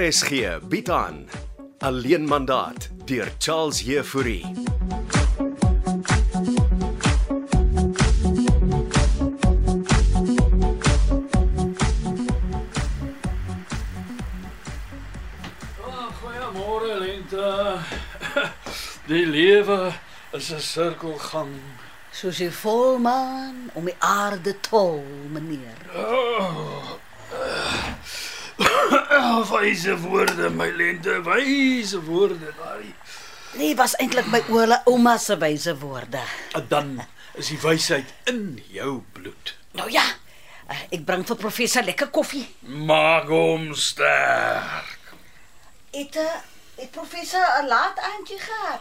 RSG bied aan Alleen mandaat deur Charles Heffouri. Ah, Goeiemôre lente. Die lewe is 'n sirkelgang. Soos die volmaan om die aarde tol, meneer. Ah, Wyse woorde, my lente, wyse woorde daai. Nee, was eintlik my oorle ouma se wyse woorde. Dan is die wysheid in jou bloed. Nou ja, eh, ek bring vir professor lekker koffie. Maak hom sterk. Het 'n het professor 'n laat aandjie gehad?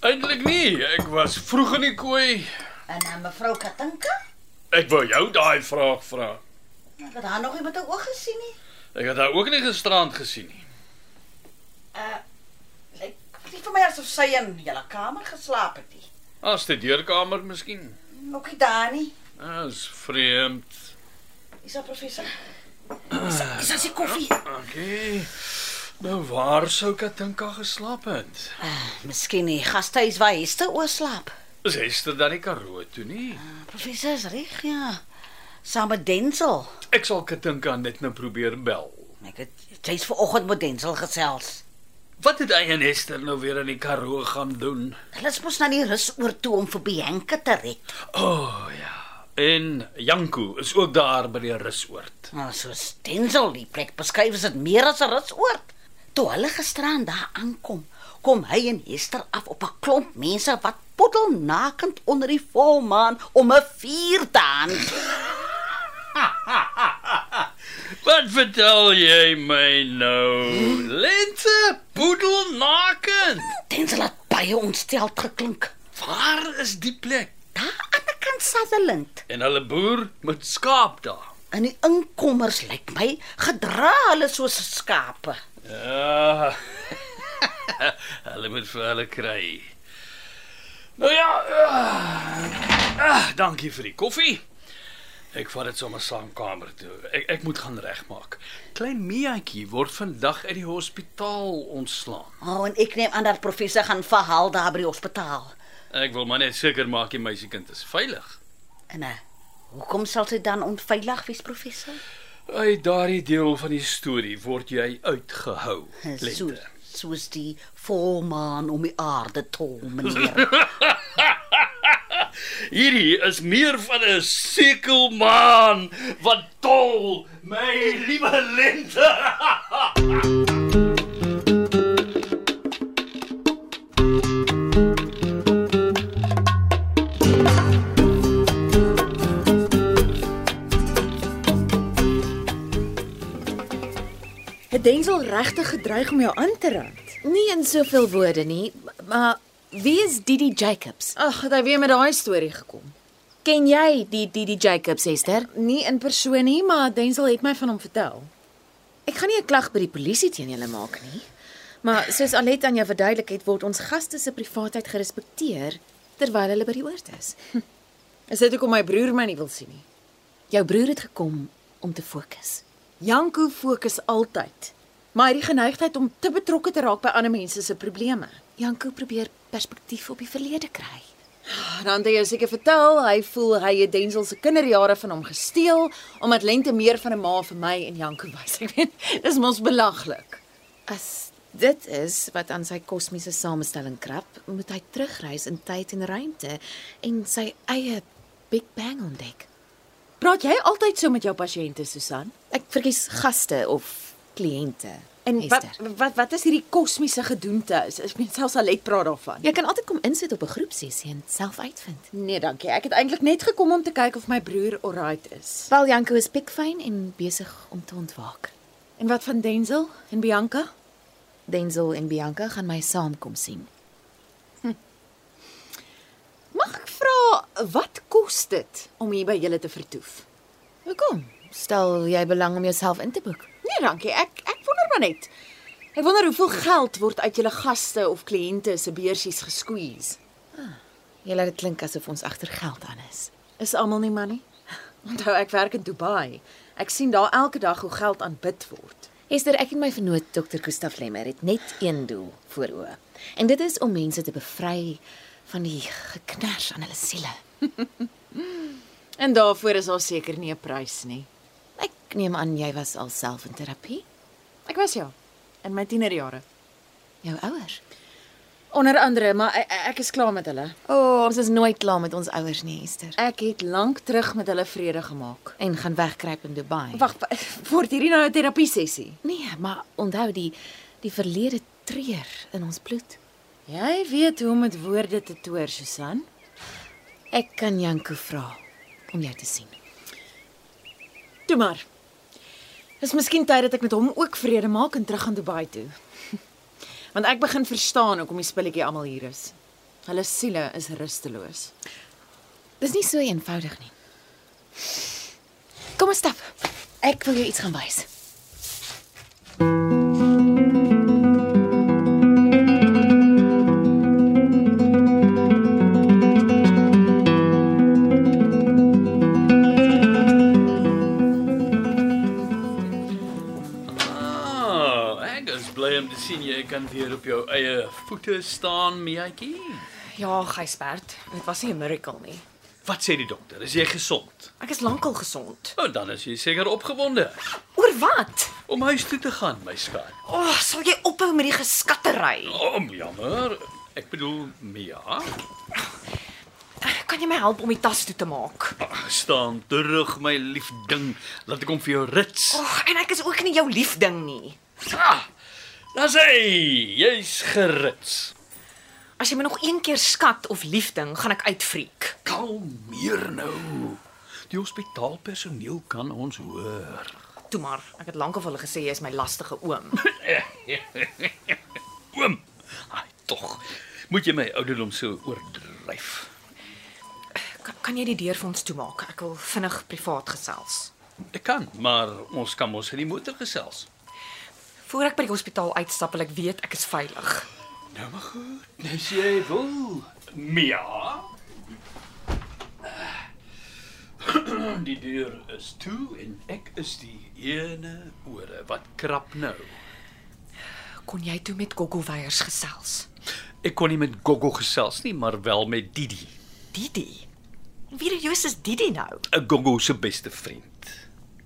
Eintlik nie, ek was vroeg in die kooi. En aan mevrou Katinka? Ek wou jou daai vraag vra. Ek het haar nog nie met 'n oog gesien nie. Ek het haar ook nie gisterand gesien nie. Uh, lyk nie vir my asof sy in julle kamer geslaap het nie. As dit deurkamer miskien. Ook nie daar nie. Dis vreemd. Is daar professor? Is, is daar se koffie? Okay. Nou waar sou Katinka geslaap het? Uh, miskien nie. Gasthuis waar Hester oorslaap. Is Hester dan nie Karoo toe nie? Professor is reg, ja. Saam met Denzel. Ek sal Katinka net nou probeer bel. Ek het jy's vanoggend met Denzel gesels. Wat het hy en Hester nou weer in die Karoo gaan doen? Hulle is mos na die rus oor toe om vir Bianca te red. O oh, ja. En Janko is ook daar by die rusoord. Nou soos Denzel die plek beskryf is dit meer as 'n rusoord. Toe hulle gisteraan daar aankom, kom hy en Hester af op 'n klomp mense wat poddelnakend onder die volmaan om 'n vuur te aan. Wat vertel jy my nou? Lente poedel nakend. Denzel het baie ontsteld geklink. Waar is die plek? Daar aan die kant Sutherland, En hulle boer met skaap daar. in die inkommers lyk my gedra hulle soos skape. Ja. hulle moet vir hulle kry. Nou ja. Uh, ah, dankie vir die koffie. Ek vat dit sommer saam kamer toe. Ek ek moet gaan regmaak. Klein Miaatjie word vandag uit die hospitaal ontslaan. O, oh, en ek neem aan dat professor gaan verhaal daar by die hospitaal. Ek wil maar net seker maak die meisiekind is veilig. En uh, hoekom sal sy dan onveilig wees, professor? Uit daardie deel van die storie word jy uitgehou. So, Eh, soos die volmaan om die aarde tol, meneer. Hierdie is meer van 'n sekelmaan wat tol my liewe lente. Het Denzel regtig gedreig om jou aan te rand? Nie in soveel woorde nie, maar wie is Didi Jacobs? Ag, het hy weer met daai storie gekom. Ken jy die Didi Jacobs, Esther? Nie in persoon nie, maar Denzel het my van hom vertel. Ek gaan nie 'n klag by die polisie teen julle maak nie. Maar soos Alet aan jou verduidelik het, word ons gaste se privaatheid gerespekteer terwyl hulle by die oord is. Hm. Is dit hoekom my broer my nie wil sien nie? Jou broer het gekom om te fokus. Janko fokus altyd, maar hy het die geneigtheid om te betrokke te raak by ander mense se probleme. Janko probeer perspektief op die verlede kry. Dan het hy jou seker vertel hy voel hy het Denzel se kinderjare van hom gesteel omdat Lente meer van 'n ma vir my en Janko was. Ek weet, dis mos belaglik. As dit is wat aan sy kosmiese samestelling krap, moet hy terugreis in tyd en ruimte en sy eie Big Bang ontdek. Praat jy altyd so met jou pasiënte, Susan? Ek verkies gaste of kliënte. En wat, Esther. wat wat is hierdie kosmiese gedoente? Is- Ek meen selfs Alet praat daarvan. Jy kan altyd kom insit op 'n groepsessie en self uitvind. Nee, dankie. Ek het eintlik net gekom om te kyk of my broer alright is. Wel Janko is pikfyn en besig om te ontwaak. En wat van Denzel en Bianca? Denzel en Bianca gaan my saamkom sien. Mag ek vra wat kos dit om hier by julle te vertoef? Hoekom? Stel jy belang om jouself in te boek? Nee, dankie. Ek ek wonder maar net. Ek wonder hoeveel geld word uit julle gaste of kliënte se beursies gesqueeze. Jy laat dit klink asof ons agter geld aan is. Is almal nie man nie? Onthou ek werk in Dubai. Ek sien daar elke dag hoe geld aanbid word. Esther, ek en my vernoot Dr. Gustaf Lemmer het net een doel voor oë. En dit is om mense te bevry van die geknars aan hulle siele. En daarvoor is daar seker nie 'n prys nie. Ek neem aan jy was alself in terapie, Ek was ja in my tienerjare. jou ouers. Onder andere, maar e, ek, ek is klaar met hulle. O, oh, ons is nooit klaar met ons ouers nie, Esther. Ek het lank terug met hulle vrede gemaak. En gaan wegkruip in Dubai. Wag, wa- word hierdie nou 'n terapie sessie? nee, maar onthou die die verlede treur in ons bloed. Jy weet hoe om met woorde te toer, Susan. Ek kan Janko vra om jou te sien. Toe maar. Dis miskien tyd dat ek met hom ook vrede maak en terug aan Dubai toe. Want ek begin verstaan hoekom die spilletjie almal hier is. Hulle siele is rusteloos. Dis nie so eenvoudig nie. Kom ons stap. Ek wil jou iets gaan wys. Ah, ek is bly om te sien jy kan weer op jou eie voete staan, Miaatjie. Ja, Gysbert, dit was nie 'n miracle nie. Wat sê die dokter? Is jy gesond? Ek is lankal gesond. O, oh, dan is jy seker opgewonde Oor wat? om huis toe te gaan, my skat. O, oh, sal jy ophou met die geskattery? O, oh, jammer. Ek bedoel, Mia, Kan jy my help om die tas toe te maak? Ah, staan terug my lief ding. Laat ek hom vir jou rits. O, oh, en ek is ook nie jou liefding nie. Ah, dan sê hy, jy's gerits. As jy my nog een keer skat of liefding, gaan ek uitfreek. Kalmeer nou. Die hospitaalpersoneel kan ons hoor. Toe maar, ek het lankal vir hulle gesê jy is my lastige oom. Oom. Ai, tog. Moet jy my ouderdom so oordryf? Kan, kan jy die deur vir ons toemaak? Ek wil vinnig privaat gesels. Ek kan, maar ons kan mos in die motor gesels. Voordat ek by die hospitaal uitstap, wil ek weet ek is veilig. Nou maar goed. Dis jy wil. Mia. Die deur is toe en ek is die ene ore wat krap nou. Kon jy toe met Goggelweiers gesels? Ek kon nie met Gogo gesels nie, maar wel met Didi, Didi. Wie die Joos is Didi nou? 'n Gogo se beste vriend.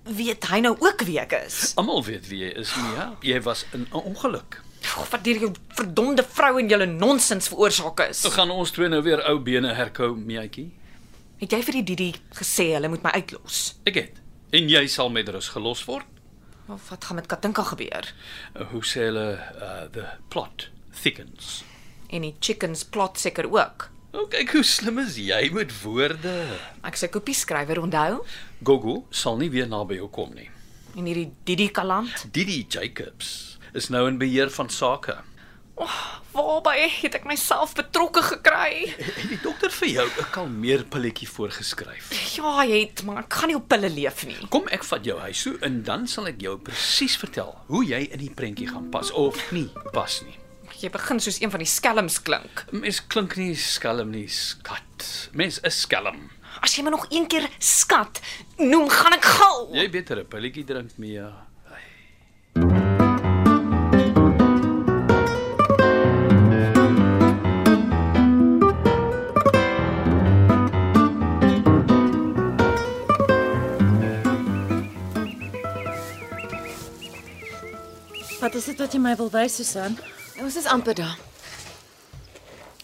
Weet hy nou ook wie ek is? Almal weet wie jy is, Mia. Jy was in 'n ongeluk. Of wat deur jou verdomde vrou en jou nonsens veroorsaak is. So gaan ons twee nou weer ou bene herkou, Miaatjie. Het jy vir die Didi gesê hulle moet my uitlos? Ek het. En jy sal met rus gelos word. Of wat gaan met Katinka gebeur? Uh, Hoe sê hulle uh, the plot thickens. En die chickens plot seker ook. O, kyk hoe slim is jy met woorde. Ek se kopie skrywer onthou Gogo sal nie weer naby jou kom nie. en hierdie Didi kaland. Didi Jacobs is nou in beheer van sake. Waarby het ek myself betrokke gekry? Het die dokter vir jou 'n kalmeerpilletjie voorgeskryf? Ja, hy het, maar ek gaan nie op pille leef nie. Kom ek vat jou huis toe en dan sal ek jou presies vertel hoe jy in die prentjie gaan pas of nie pas nie. Jy begin soos een van die skelms klink. Mens klink nie skelm nie, skat. Mens is skelm. As jy my nog een keer skat noem, gaan ek gal. Jy beter 'n pilletjie drink, Mia. Wat is dit wat jy my wil wys, Susan? Ons is amper daar.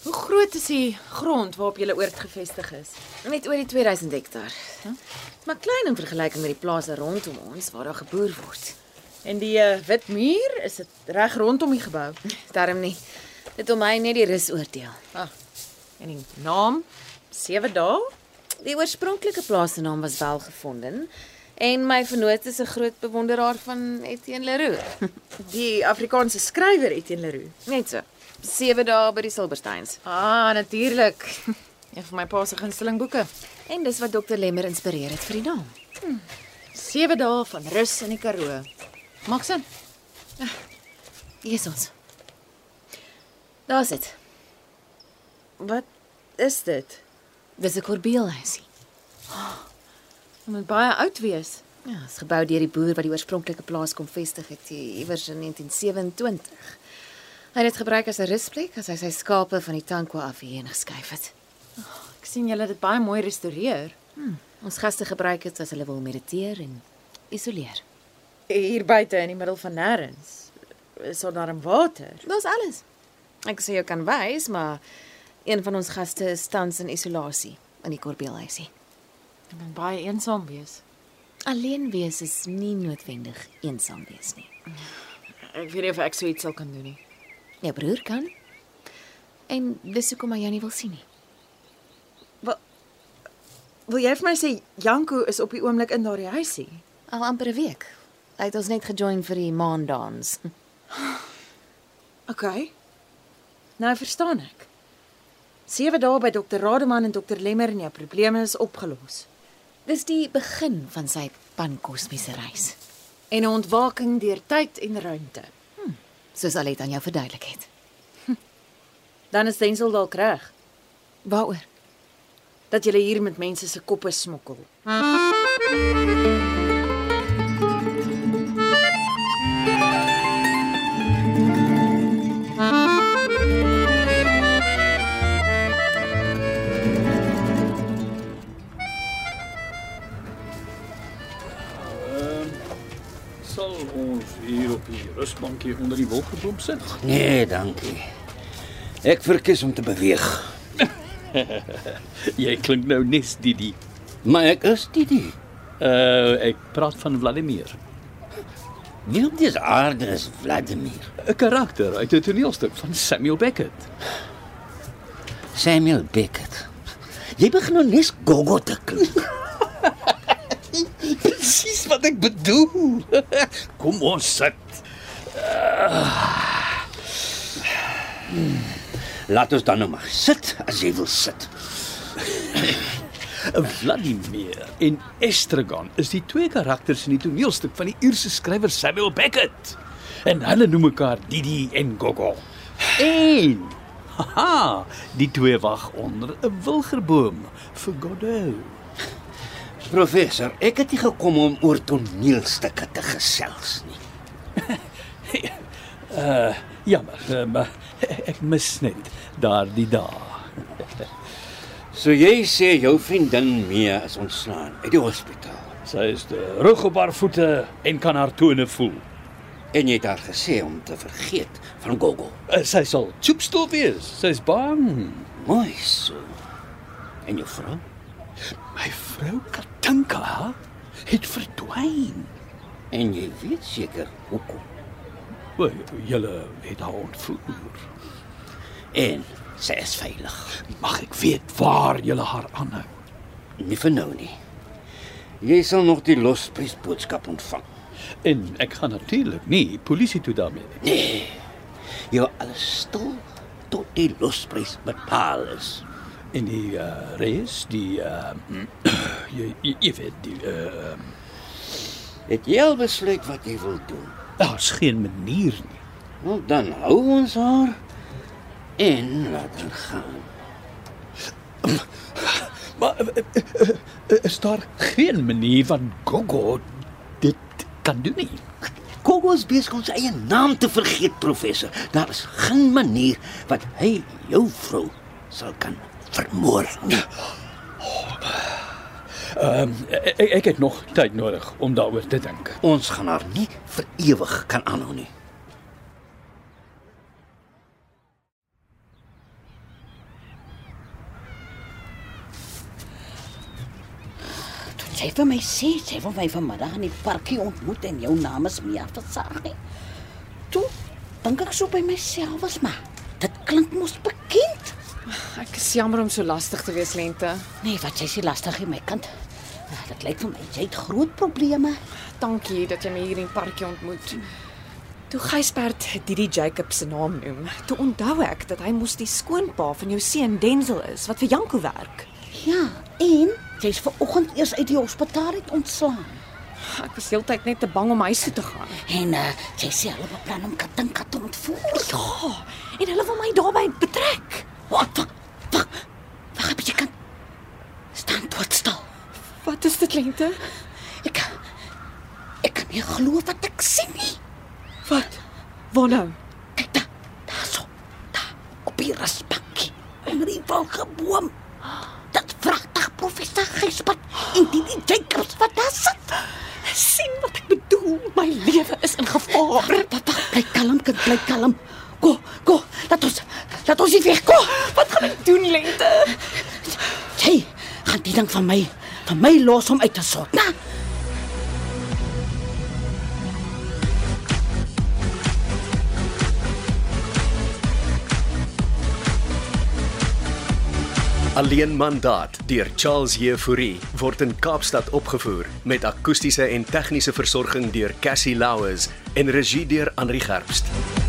Hoe groot is die grond waarop jy oort gevestig is? Net oor die 2000 hektaar. Dit maar klein in vergelyking met die plase rondom ons waar daar geboer word. En die uh, wit muur, is dit reg rondom die gebou? Darm nie. Dit om my net die rus oordeel. Ah. En die naam 7 dae? Die oorspronklike plaasnaam was wel gevonden en my vernoot is 'n groot bewonderaar van Etienne Leroux. Die Afrikaanse skrywer Etienne Leroux. Net so. 7 dae by die Silbersteins. Ah, natuurlik. Een van my pa se gunsteling boeke. En dis wat Dr Lemmer inspireer het vir die naam. Hmm. 7 dae van rus in die Karoo. Maak sin. Ah. Hier is ons. Daar's dit. Wat is dit? Dis 'n korbeelhuisie. Dit moet baie oud wees. Ja, is gebou deur die boer wat die oorspronklike plaas kom vestig het hier iewers in 1927. Hy het dit gebruik as 'n rusplek as hy sy skape van die Tankwa af hierheen geskuif het. Ek sien julle het dit baie mooi restoreer. Hmm, Ons gaste gebruik dit as hulle wil mediteer en isoleer. Hier buite in die middel van nêrens is daar darm water. Dis alles. Ek sê jou kan wys, maar een van ons gaste is tans in isolasie in die Korbeelhuisie. Ek kan baie eensaam wees. Alleen wees is nie noodwendig eensaam wees nie. Ek weet nie of ek so iets sal kan doen nie. Jou Ja, broer kan. En dis hoekom hy jou nie wil sien nie. Wil jy vir my sê Janko is op die oomblik in daardie huisie? Al amper 'n week. Hy het ons net gejoin vir die maandans. OK. Nou verstaan ek. 7 dae by dokter Rademan en dokter Lemmer en jou probleme is opgelos. Dis die begin van sy pankosmiese reis, En 'n ontwaking deur tyd en ruimte. soos Alet aan jou verduidelik het. Dan is Denzel dalk reg Waaroor? dat jy hier met mense se koppe smokkel. Sal ons hier op die rusbankie onder die wolkgeblom sit? Nee, dankie. Ek verkies om te beweeg. Jy klink nou nes Didi. Maar ek is Didi. Uh ek praat van Vladimir. Wie op dis aarde is Vladimir? 'n Karakter uit 'n toneelstuk van Samuel Beckett. Samuel Beckett. Jy begin nou nes gogo te klink. Presies wat ek bedoel. Kom ons sit. Laat ons dan nou maar sit as jy wil sit. Vladimir en Estragon is die twee karakters in die toneelstuk van die Ierse skrywer Samuel Beckett. En hulle noem mekaar Didi en Gogo. En haha, die twee wag onder 'n wilgerboom vir Godot. Professor, ek het nie gekom om oor toneelstukke te gesels nie. Jammer, eh, maar ek mis net daardie dae. So jy sê jou vriendin Mia is ontslaan uit die hospitaal. Sy is terug op haar voete en kan haar tone voel. En jy het haar gesê om te vergeet van Gogo. Eh, Sy sal choopstoel wees. Sy's bang. Mooi so. En jou vrou? My vrou Katinka het verdwyn. En jy weet seker hoekom. Wel, julle het haar ontvoer. En sy is veilig. Mag ek weet waar julle haar aanhou? Nie vir nou nie. Jy sal nog die losprysboodskap ontvang. En ek gaan natuurlik nie polisie toe daarmee nie. Jy hou alles stil tot die losprys bepaal is. En die uh, reis, die uh, jy, jy, jy weet die uh, Het jy al besluit wat jy wil doen? daar's geen manier nie. Wel dan hou ons haar en laat haar gaan. Maar eh, eh, eh, eh, is daar geen manier van Gogo dit kan doen nie? Kogo is besig om sy eie naam te vergeet, professor. Daar is geen manier wat hy jou vrou sal kan vermoor. Ek, E, ek het nog tyd nodig om daaroor te dink. Ons gaan haar nie vir ewig kan aanhou nie. Toe sy vir my sê sy wil my vanmiddag in die parkie ontmoet en jou naam is Mia Versace. Toe dink ek so by myself was maar. Dit klink mos bekend. Ek is jammer om so lastig te wees, Lente. Nee, wat jy sê lastig hier my kant. Ja, dit lyk vir my jy het groot probleme. Dankie dat jy my hier in die parkie ontmoet. Toe Gysbert Didi Jacob se naam noem, toe onthou ek dat hy mos die skoonpa van jou seun Denzel is wat vir Janko werk. Ja, en jy's ver oggend eers uit die hospitaal uit ontslaan. Ek was heeltyd net te bang om huis toe te gaan. En uh, jy sê hulle beplan om Katinka te ontvoer. Ja, en hulle wil my daarbey betrek. Wat? Wag. Wag. Wag 'n bietjie kan. Staan tot stil. Wat is dit, Lente? Ek nie glo wat ek sien nie. Wat? Waar nou? Kyk daar, daarso. Daar op die raspakkie. Onder die walgeboom. Dit pragtig professor Gysbert en die die Jacobs wat daar sit. sien wat ek bedoel? My lewe is in gevaar. Papa, bly kalm, kind, bly kalm. Go, go. Laat ons laat ons hier weg. Go. Wat gaan ek doen, Lente? Jy gaan die ding van my van my los om uit te sort. Na. Alleen mandaat deur Charles Jefouri word in Kaapstad opgevoer met akoestiese en tegniese versorging deur Cassie Louws en regie deur Henri Gerst.